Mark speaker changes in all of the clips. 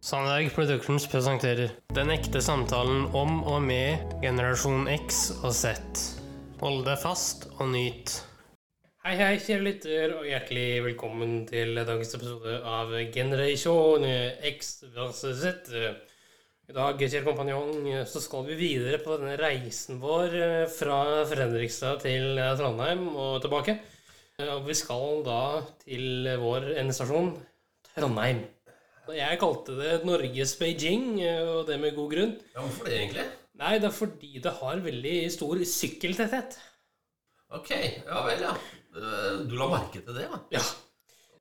Speaker 1: Sandberg Productions presenterer Den ekte samtalen om og med generasjon X og Z. Hold deg fast og nyt. Hei, hei, kjære lytter, og hjertelig velkommen til dagens episode av Generation X versus Z. I dag, kjære kompanjong, så skal vi videre på denne reisen vår eh, fra Fredrikstad til eh, Trondheim og tilbake. Eh, Og vi skal da til vår endestasjon, Trondheim. Og Jeg kalte det Norges Beijing, eh, og det med god grunn.
Speaker 2: Ja, hvorfor det egentlig?
Speaker 1: Nei, det er fordi det har veldig stor sykkeltetthet.
Speaker 2: Ok, ja vel, ja. Eh, Du la merke til det, da?
Speaker 1: Ja.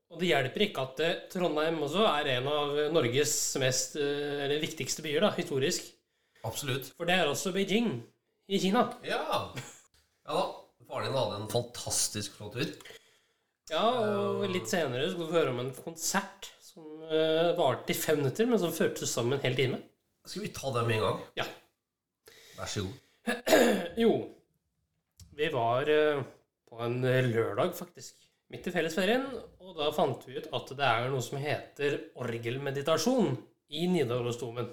Speaker 1: Og det hjelper ikke at eh, Trondheim også er en av Norges mest, eh, eller viktigste byer, da, historisk.
Speaker 2: Absolutt.
Speaker 1: For det er også Beijing i Kina.
Speaker 2: Ja. ja da. Faren din hadde en fantastisk flott tur.
Speaker 1: Ja, og litt senere skal du få høre om en konsert som eh, varte i fem minutter, men som førte sammen en hel time.
Speaker 2: Skal vi ta det med en gang?
Speaker 1: Ja.
Speaker 2: Vær så god.
Speaker 1: Jo, vi var eh, på en lørdag, faktisk, midt i fellesferien, og da fant vi ut at det er noe som heter orgelmeditasjon i Nidarosdomen.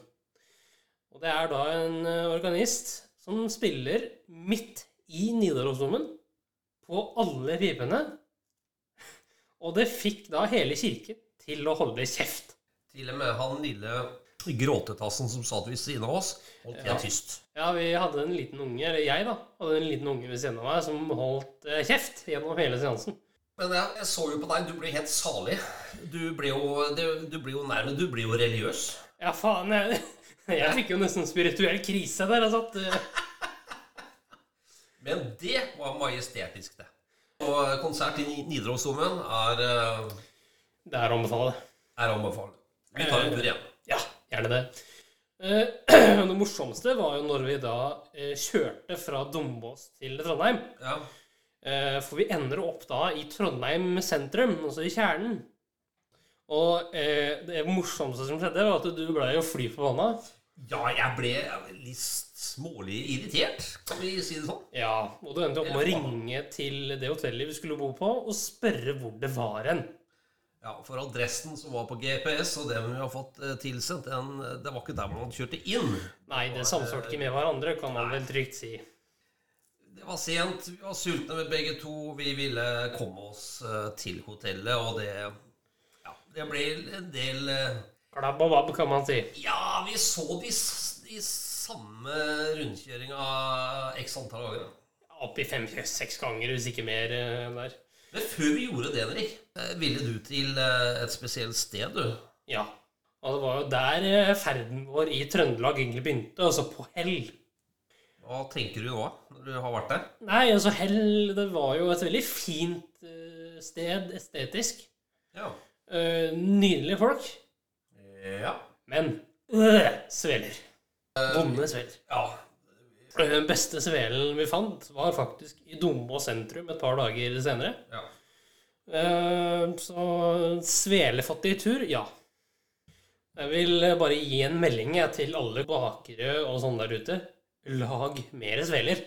Speaker 1: Og det er da en eh, organist som spiller midt i Nidarosdomen på alle pipene, og det fikk da hele kirken til å holde kjeft.
Speaker 2: Til og med han lille gråtetassen som satt ved siden av oss, holdt
Speaker 1: Ja.
Speaker 2: jeg tyst.
Speaker 1: Ja, vi hadde en liten unge, eller jeg da, hadde en liten unge ved siden av meg som holdt eh, kjeft gjennom hele seansen.
Speaker 2: Men jeg, jeg så jo på deg, du ble helt salig. Du ble jo, du, du ble jo nærmest Du ble jo religiøs.
Speaker 1: Ja, faen, jeg, jeg fikk jo nesten spirituell krise der, altså. at, eh,
Speaker 2: Men det var majestetisk, det. Og konsert i Nidarosdomen er, eh,
Speaker 1: Det er å anbefale.
Speaker 2: er å anbefale. Vi tar en tur igjen.
Speaker 1: Ja, gjerne det. Eh, Det morsomste var jo når vi da eh, kjørte fra Dombås til Trondheim.
Speaker 2: Ja.
Speaker 1: Eh, For vi ender opp da i Trondheim sentrum, altså i kjernen. Og eh, det morsomste som skjedde, var at du ble jo fly forbanna.
Speaker 2: Ja, jeg ble litt smålig irritert, kan vi si det sånn.
Speaker 1: Ja, og du endte opp med å ringe til det hotellet vi skulle bo på, og spørre hvor det var hen.
Speaker 2: Ja, For adressen som var på GPS, og det vi har fått eh, tilsendt, den, eh, det var ikke der man kjørte inn.
Speaker 1: Nei, det samsvarte ikke med hverandre, kan man vel trygt si.
Speaker 2: Det var sent, vi var sultne med begge to, vi ville komme oss eh, til hotellet, og det Ja, det ble en del eh,
Speaker 1: Klabb og babb, kan man si.
Speaker 2: Ja, vi så de, s- de samme rundkjøringa x antall ganger. da.
Speaker 1: Opp i fem-seks ganger, hvis ikke mer eh, der.
Speaker 2: Men før vi gjorde det, Henrik, eh, ville du til eh, et spesielt sted, du?
Speaker 1: Ja. Og det var jo der eh, ferden vår i Trøndelag egentlig begynte, altså på hell.
Speaker 2: Hva tenker du nå, når du har vært der?
Speaker 1: Nei, altså hell, det var jo et veldig fint eh, sted estetisk.
Speaker 2: Ja.
Speaker 1: Eh, Nydelige folk.
Speaker 2: Ja.
Speaker 1: Men øh, sveler. Vonde sveler.
Speaker 2: ja.
Speaker 1: Den beste svelen vi fant, var faktisk i Dombås sentrum et par dager senere. Eh, Så svelefattig tur, ja. Jeg vil bare gi en melding jeg, til alle bakere og sånne der ute. Lag mer sveler.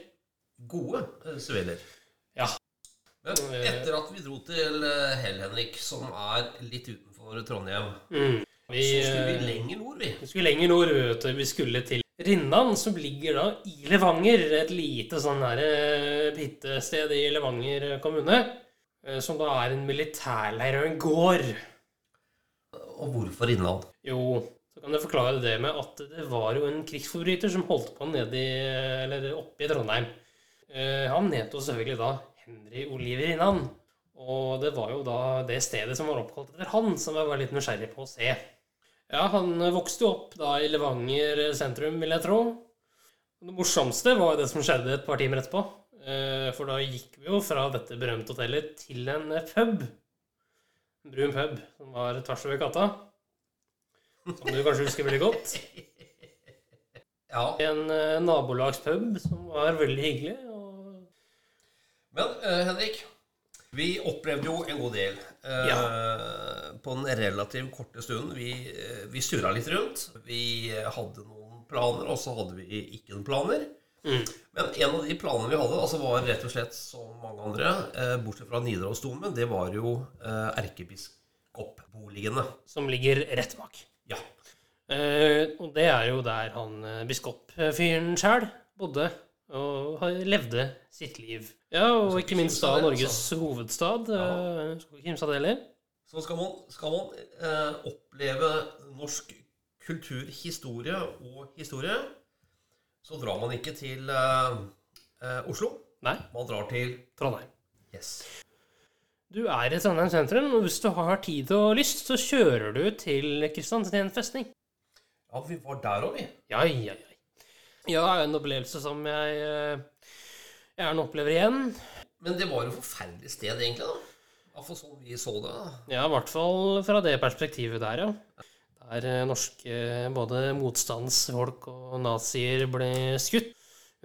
Speaker 2: Gode eh, sveler.
Speaker 1: Ja.
Speaker 2: Men etter at vi dro til eh, Hell, Henrik, som er litt utenfor Trondheim,
Speaker 1: Mm. Vi,
Speaker 2: så skulle
Speaker 1: eh,
Speaker 2: vi lenger nord, vi.
Speaker 1: vi skulle lenger nord. Vet du. Vi skulle til Rinnan, som ligger da i Levanger. Et lite sånn her eh, bitte sted i Levanger kommune. eh, Som da er en militærleir og en gård.
Speaker 2: Og hvorfor Innland?
Speaker 1: Jo, så kan jeg forklare det med at det var jo en krigsforbryter som holdt på nede i, eller oppe i Trondheim. Eh, Han het jo selvfølgelig da Henry Oliver Innan. Og det var jo da det stedet som var oppkalt etter han, som jeg var litt nysgjerrig på å se. Ja, han vokste jo opp da i Levanger sentrum, vil jeg tro. Det morsomste var jo det som skjedde et par timer etterpå. Eh, For da gikk vi jo fra dette berømte hotellet til en pub. En brun pub som var tvers over gata. Som du kanskje husker veldig godt.
Speaker 2: Ja.
Speaker 1: En eh, nabolagspub som var veldig hyggelig. Og...
Speaker 2: Men eh, Henrik, vi opplevde jo en god del eh, på den relativt korte stunden. Vi, uh, vi surra litt rundt. Vi eh, hadde noen planer, og så hadde vi ikke noen planer. Men en av de planene vi hadde, altså var rett og slett som mange andre, eh, bortsett fra Nidarosdomen, det var jo eh, erkebiskopboligene.
Speaker 1: Som ligger rett bak.
Speaker 2: Ja.
Speaker 1: Eh, og det er jo der han eh, biskopfyren sjæl bodde og har- levde sitt liv. Ja, og
Speaker 2: skal ikke
Speaker 1: ikke minst da
Speaker 2: kimse av det,
Speaker 1: Norges hovedstad.
Speaker 2: Ja.
Speaker 1: eh, Skal ikke kimse av det heller.
Speaker 2: Så skal man, skal man eh, oppleve norsk kultur, historie og historie, så drar man ikke til eh, eh, Oslo.
Speaker 1: Nei,
Speaker 2: Man drar til
Speaker 1: Trondheim.
Speaker 2: Yes.
Speaker 1: Du er i Trondheim sentrum, og hvis du har tid og lyst, så kjører du til Kristiansand festning.
Speaker 2: Ja, vi var der òg, vi.
Speaker 1: Ja, ja, ja. Ja, det er en opplevelse som jeg eh, gjerne opplever igjen.
Speaker 2: Men det var jo et forferdelig sted, egentlig. da. Ja, for sånn vi så det. da.
Speaker 1: Ja, i hvert fall fra det perspektivet der, ja. Der eh, norske eh, både motstandsfolk og nazier ble skutt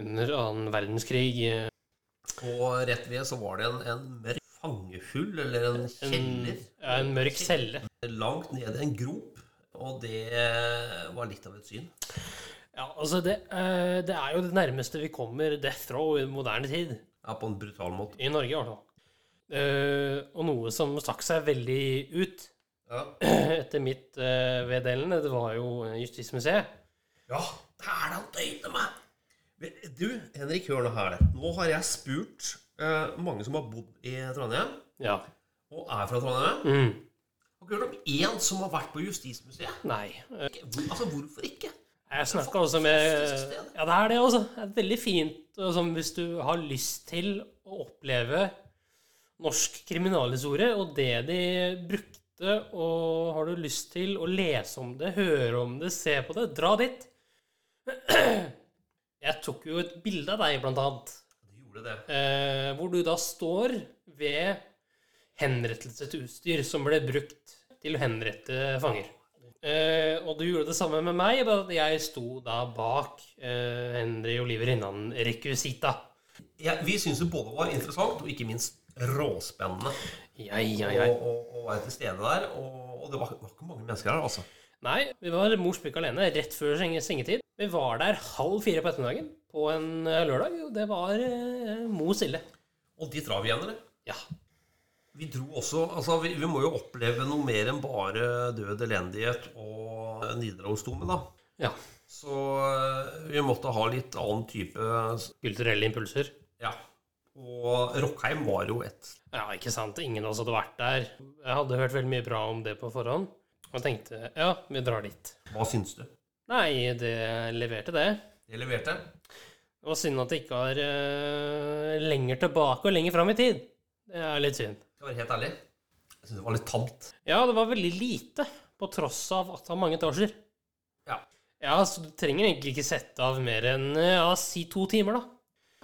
Speaker 1: under annen verdenskrig. eh,
Speaker 2: Og rett ved så var det en, en mørk fangehull, eller en
Speaker 1: En,
Speaker 2: kjeller.
Speaker 1: ja, en mørk celle.
Speaker 2: Langt ned i en grop. Og det var litt av et syn.
Speaker 1: Ja, altså, det, eh, det er jo det nærmeste vi kommer death row i moderne tid.
Speaker 2: Ja, på en brutal måte.
Speaker 1: I Norge, i hvert fall. Eh, og noe som stakk seg veldig ut,
Speaker 2: Ja.
Speaker 1: etter mitt uh, veddelende, det var jo eh, Justismuseet.
Speaker 2: Ja, det er det han døgnet meg! Men Du, Henrik, hør nå her. Nå har jeg spurt eh, mange som har bodd i Trondheim,
Speaker 1: Ja.
Speaker 2: og er fra Trondheim.
Speaker 1: Mm.
Speaker 2: Har ikke hørt om én som har vært på Justismuseet.
Speaker 1: Nei. Eh,
Speaker 2: Ikke- hvor- Altså, hvorfor ikke?
Speaker 1: Jeg snakka også med
Speaker 2: Fantastisk sted.
Speaker 1: Ja, det er det, altså. Det er veldig fint og sånn, hvis du har lyst til å oppleve norsk kriminalhistorie og det de brukte, og har du lyst til å lese om det, høre om det, se på det, dra dit. Jeg tok jo et bilde av deg, blant annet.
Speaker 2: De gjorde det.
Speaker 1: eh, hvor du da står ved henrettelsesutstyr som ble brukt til å henrette fanger. Eh, og du gjorde det samme med meg, bare at jeg sto da bak eh, Henry Oliver Innan Requisita.
Speaker 2: Ja, vi syns jo både var interessant og ikke minst råspennende
Speaker 1: Ja, ja,
Speaker 2: å, å, å være til stede der. Og, og det var, var ikke mange mennesker her, altså.
Speaker 1: Nei, vi var mors pykk alene rett før senge- sengetid. Vi var der halv fire på ettermiddagen på en eh, lørdag, og det var eh, mos ille.
Speaker 2: Og dit drar vi igjen, eller?
Speaker 1: Ja.
Speaker 2: Vi dro også Altså, vi, vi må jo oppleve noe mer enn bare død, elendighet og eh, Nidarosdomen, da.
Speaker 1: ja.
Speaker 2: Så eh, vi måtte ha litt annen type
Speaker 1: Kulturelle impulser.
Speaker 2: Ja. Og Rockheim var jo et
Speaker 1: Ja, ikke sant. Ingen av oss hadde vært der. Jeg hadde hørt veldig mye bra om det på forhånd, og tenkte ja, vi drar dit.
Speaker 2: Hva syns du?
Speaker 1: Nei, det leverte det.
Speaker 2: Det leverte.
Speaker 1: Det var synd at det ikke var eh, lenger tilbake og lenger fram i tid. Det er litt synd.
Speaker 2: Skal være helt ærlig. Jeg syns det var litt tamt.
Speaker 1: Ja, det var veldig lite, på tross av at det var mange etasjer.
Speaker 2: Ja.
Speaker 1: Ja, så du trenger egentlig ikke sette av mer enn eh, ja, si to timer, da.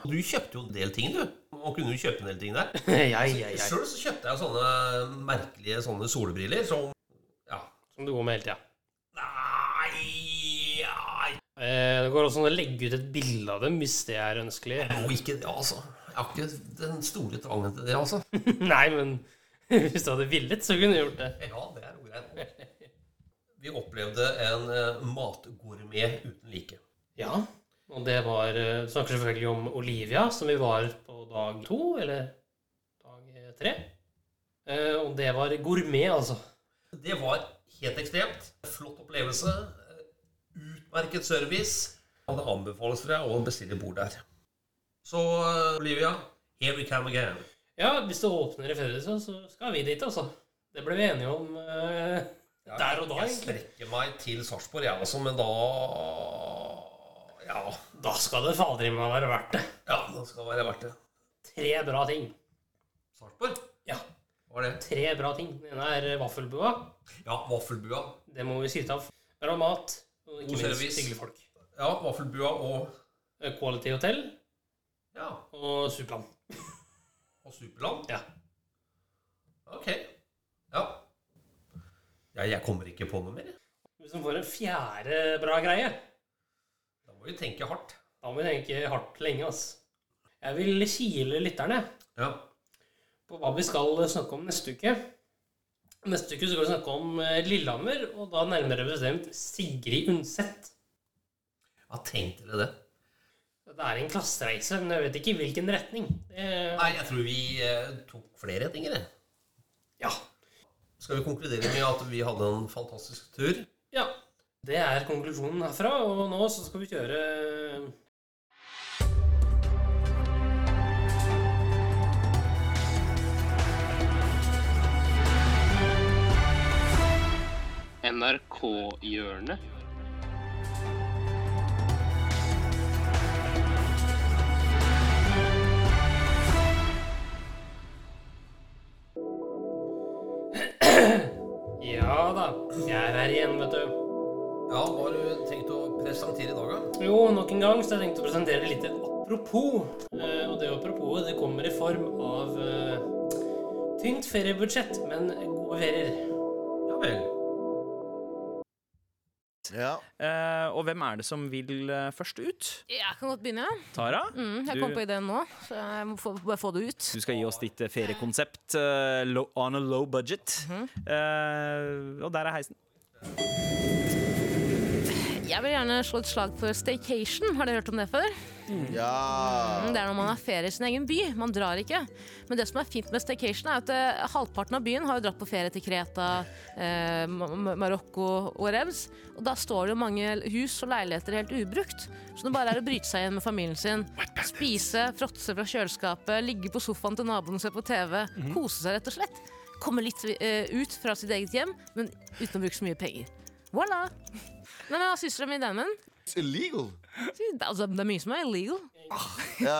Speaker 2: Du kjøpte jo en del ting, du. Man kunne jo kjøpe en del ting der.
Speaker 1: ja, ja, ja.
Speaker 2: Sjøl så kjøpte jeg sånne merkelige sånne solbriller som Ja.
Speaker 1: Som du går med hele tida.
Speaker 2: Nei ja.
Speaker 1: Eh, det går også an å legge ut et bilde av dem hvis det er ønskelig.
Speaker 2: Jeg må ikke det, altså. Jeg har ikke den store trangen til det, altså.
Speaker 1: Nei, men hvis du hadde villet, så kunne du gjort det.
Speaker 2: Ja, det er jo greit. Vi opplevde en eh, matgourmet uten like.
Speaker 1: Ja. Og det var eh, Vi snakker selvfølgelig om Olivia, som vi var på dag to, eller dag eh, tre. Eh, Og det var gourmet, altså.
Speaker 2: Det var helt ekstremt. Flott opplevelse. Utmerket service. Og det anbefales fra å bestille bord der. Så eh, Olivia, here we come again.
Speaker 1: Ja, hvis det åpner i Fredrikstad, så skal vi dit, altså. Det ble vi enige om eh, der og da,
Speaker 2: Jeg
Speaker 1: egentlig.
Speaker 2: strekker meg til Sarpsborg, jeg også, men da Ja.
Speaker 1: Da skal det fader i meg være verdt det.
Speaker 2: ja det skal være verdt det.
Speaker 1: Tre bra ting.
Speaker 2: Sarpsborg?
Speaker 1: Ja,
Speaker 2: Var det?
Speaker 1: tre bra ting. Den ene er vaffelbua.
Speaker 2: Ja, vaffelbua.
Speaker 1: Det må vi skryte av. Bra mat, og
Speaker 2: God
Speaker 1: ikke minst
Speaker 2: service.
Speaker 1: hyggelige folk.
Speaker 2: Ja, vaffelbua og
Speaker 1: Eh, Quality hotell
Speaker 2: Ja,
Speaker 1: og Supland.
Speaker 2: og Superland.
Speaker 1: Ja.
Speaker 2: Ok. Ja. ja. Jeg kommer ikke på noe mer.
Speaker 1: Hvis man får en fjerde bra greie,
Speaker 2: Da må vi tenke hardt.
Speaker 1: da må vi tenke hardt lenge, ass. Jeg vil kile lytterne
Speaker 2: Ja.
Speaker 1: på hva vi skal snakke om neste uke. Neste uke så skal vi snakke om eh, Lillehammer, og da nærmere bestemt Sigrid Undset.
Speaker 2: ja tenkte dere det?
Speaker 1: Det er en klassereise, men jeg vet ikke i hvilken retning. Det,
Speaker 2: Nei, jeg tror vi eh, tok flere retninger. jeg.
Speaker 1: ja.
Speaker 2: Skal vi konkludere med at vi hadde en fantastisk tur?
Speaker 1: ja. Det er konklusjonen herfra, og nå så skal vi kjøre
Speaker 3: NRK-hjørnet.
Speaker 1: Ja da, jeg er her igjen, vet du.
Speaker 2: Ja, hva har du tenkt å presentere i dag, da?
Speaker 1: Jo, nok en gang så har jeg tenkt å presentere litt apropos. Eh, og det apropos det kommer i form av eh, tynt feriebudsjett, men gode ferier.
Speaker 2: Ja vel.
Speaker 4: Ja.
Speaker 5: Eh, og hvem er det som vil eh, først ut?
Speaker 6: Jeg kan godt begynne.
Speaker 5: Tara?
Speaker 6: Mm, jeg
Speaker 5: Du-
Speaker 6: kom på ideen nå, så jeg må få, bare få det ut.
Speaker 5: Du skal gi oss ditt eh, feriekonsept eh, low, on a low budget.
Speaker 6: Mhm.
Speaker 5: Eh, og der er heisen.
Speaker 6: Jeg vil gjerne slå et slag for staycation. Har dere hørt om det før? Mm,
Speaker 4: ja.
Speaker 6: Det er når man har ferie i sin egen by. Man drar ikke. Men det som er fint med staycation, er at eh, halvparten av byen har jo dratt på ferie til Kreta, eh, Ma- Ma- Marokko, whatevs. Og da står det jo mange hus og leiligheter helt ubrukt. Så det bare er å bryte seg igjen med familien sin. Spise, fråtse fra kjøleskapet, ligge på sofaen til naboen og se på TV. Kose seg, rett og slett. Komme litt eh, ut fra sitt eget hjem, men uten å bruke så mye penger. Voilà! Nei, men Hva syns dere om ideen min?
Speaker 4: It's illegal.
Speaker 6: Altså, det er mye som er illegal.
Speaker 4: Ja.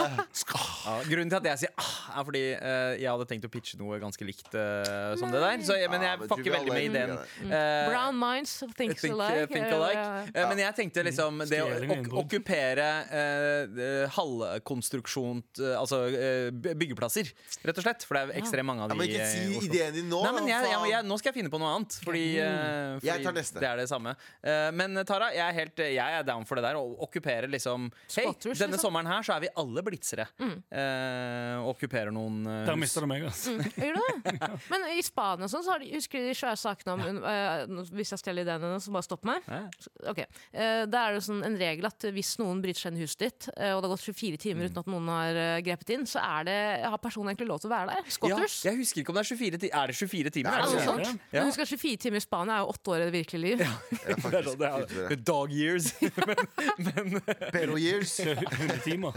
Speaker 7: Ja, grunnen til at jeg sier ah, er fordi eh, jeg hadde tenkt å pitche noe ganske likt eh, som det der. Så, jeg- men
Speaker 5: Ah,
Speaker 4: Ja,
Speaker 7: jeg
Speaker 4: men
Speaker 7: fucker
Speaker 4: du vil
Speaker 7: veldig med
Speaker 4: alle
Speaker 7: ideen.
Speaker 4: gjøre
Speaker 7: Eh,
Speaker 6: Mm. Brown minds think,
Speaker 7: Think,
Speaker 6: alike.
Speaker 7: think
Speaker 6: Ja,
Speaker 7: alike.
Speaker 6: ja, ja.
Speaker 7: Eh, Men jeg tenkte liksom det å
Speaker 1: Skreling
Speaker 7: ok
Speaker 1: innbord.
Speaker 7: okkupere eh, eh, halvkonstruksjon eh, Altså eh, by- byggeplasser, rett og slett. For det er ekstremt mange av
Speaker 4: Ja,
Speaker 7: de
Speaker 4: men ikke
Speaker 7: eh, i
Speaker 4: si
Speaker 7: Oslo.
Speaker 4: ideen din nå.
Speaker 7: Nei, men jeg, jeg,
Speaker 4: faen. Mm.
Speaker 7: jeg, nå skal jeg finne på noe annet. Fordi, eh, fordi
Speaker 4: Jeg tar neste.
Speaker 7: det er det samme. Eh, men Tara, jeg er, helt, jeg er down for det der. Å okkupere liksom Hei,
Speaker 6: Spotters,
Speaker 7: denne
Speaker 6: liksom.
Speaker 7: sommeren her så er vi alle blitzere. Eh, og okkuperer noen eh,
Speaker 8: Der
Speaker 7: hus.
Speaker 8: mista du meg, altså.
Speaker 6: Gjør du det? Men i Spania og sånn, så har de, husker du de svære sakene om eh, nå- Hvis jeg stjeler ideene dine, så bare stopp meg.
Speaker 7: Ja.
Speaker 6: Ok, Eh, Da er det jo sånn en regel at hvis noen bryter seg inn i huset ditt, eh, og det har gått 24 timer
Speaker 7: Mm.
Speaker 6: uten at noen har eh, grepet inn, så er det, har personen egentlig lov til å være der.
Speaker 7: Ja,
Speaker 6: Scotters.
Speaker 7: jeg husker ikke om det er 24 timer. Er det 24 timer?
Speaker 4: Det er
Speaker 7: Er det
Speaker 6: Noe
Speaker 7: sånn?
Speaker 6: sånt.
Speaker 7: Ja.
Speaker 6: Men husk at 24 timer i Spania er jo åtte år i det virkelige liv.
Speaker 4: Ja, faktisk.
Speaker 7: Det er sånn, det er,
Speaker 4: Utover
Speaker 7: the
Speaker 4: det.
Speaker 7: dog years.
Speaker 4: Pedal years.
Speaker 8: 100 timer.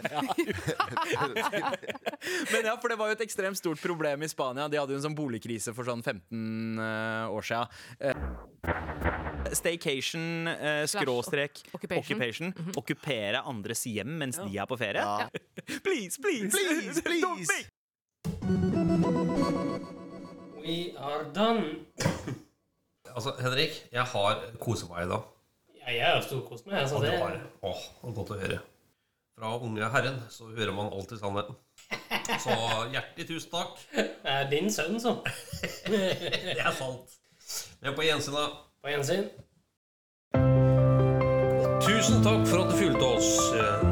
Speaker 7: Men ja, for det var jo et ekstremt stort problem i Spania. De hadde jo en sånn boligkrise for sånn 15 eh, år sia. Staycation, eh, skråstrek,
Speaker 6: Slash occupation. Mhm.
Speaker 7: occupation. Okkupere andres hjem mens de er på ferie.
Speaker 4: Ja.
Speaker 7: Please, please!
Speaker 4: Please,
Speaker 7: Don't
Speaker 4: please.
Speaker 7: make-
Speaker 1: We are done.
Speaker 2: Altså, Henrik, jeg har koset meg i dag.
Speaker 1: Ja, jeg er jo storkost meg, jeg, så
Speaker 2: Og det
Speaker 1: det
Speaker 2: var åh, det var godt å høre. Fra unge herren så hører man alltid sannheten. Så hjertelig tusen takk.
Speaker 1: Det er din sønn, så.
Speaker 2: Det er sant. Men på gjensyn, da.
Speaker 1: På gjensyn.
Speaker 2: Tusen takk for at du fulgte oss.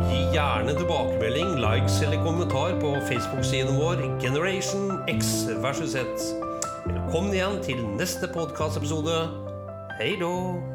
Speaker 2: Gi gjerne tilbakemelding, likes eller kommentar på Facebook-siden vår Generation X versus Z. Velkommen igjen til neste podkastepisode. Hei då.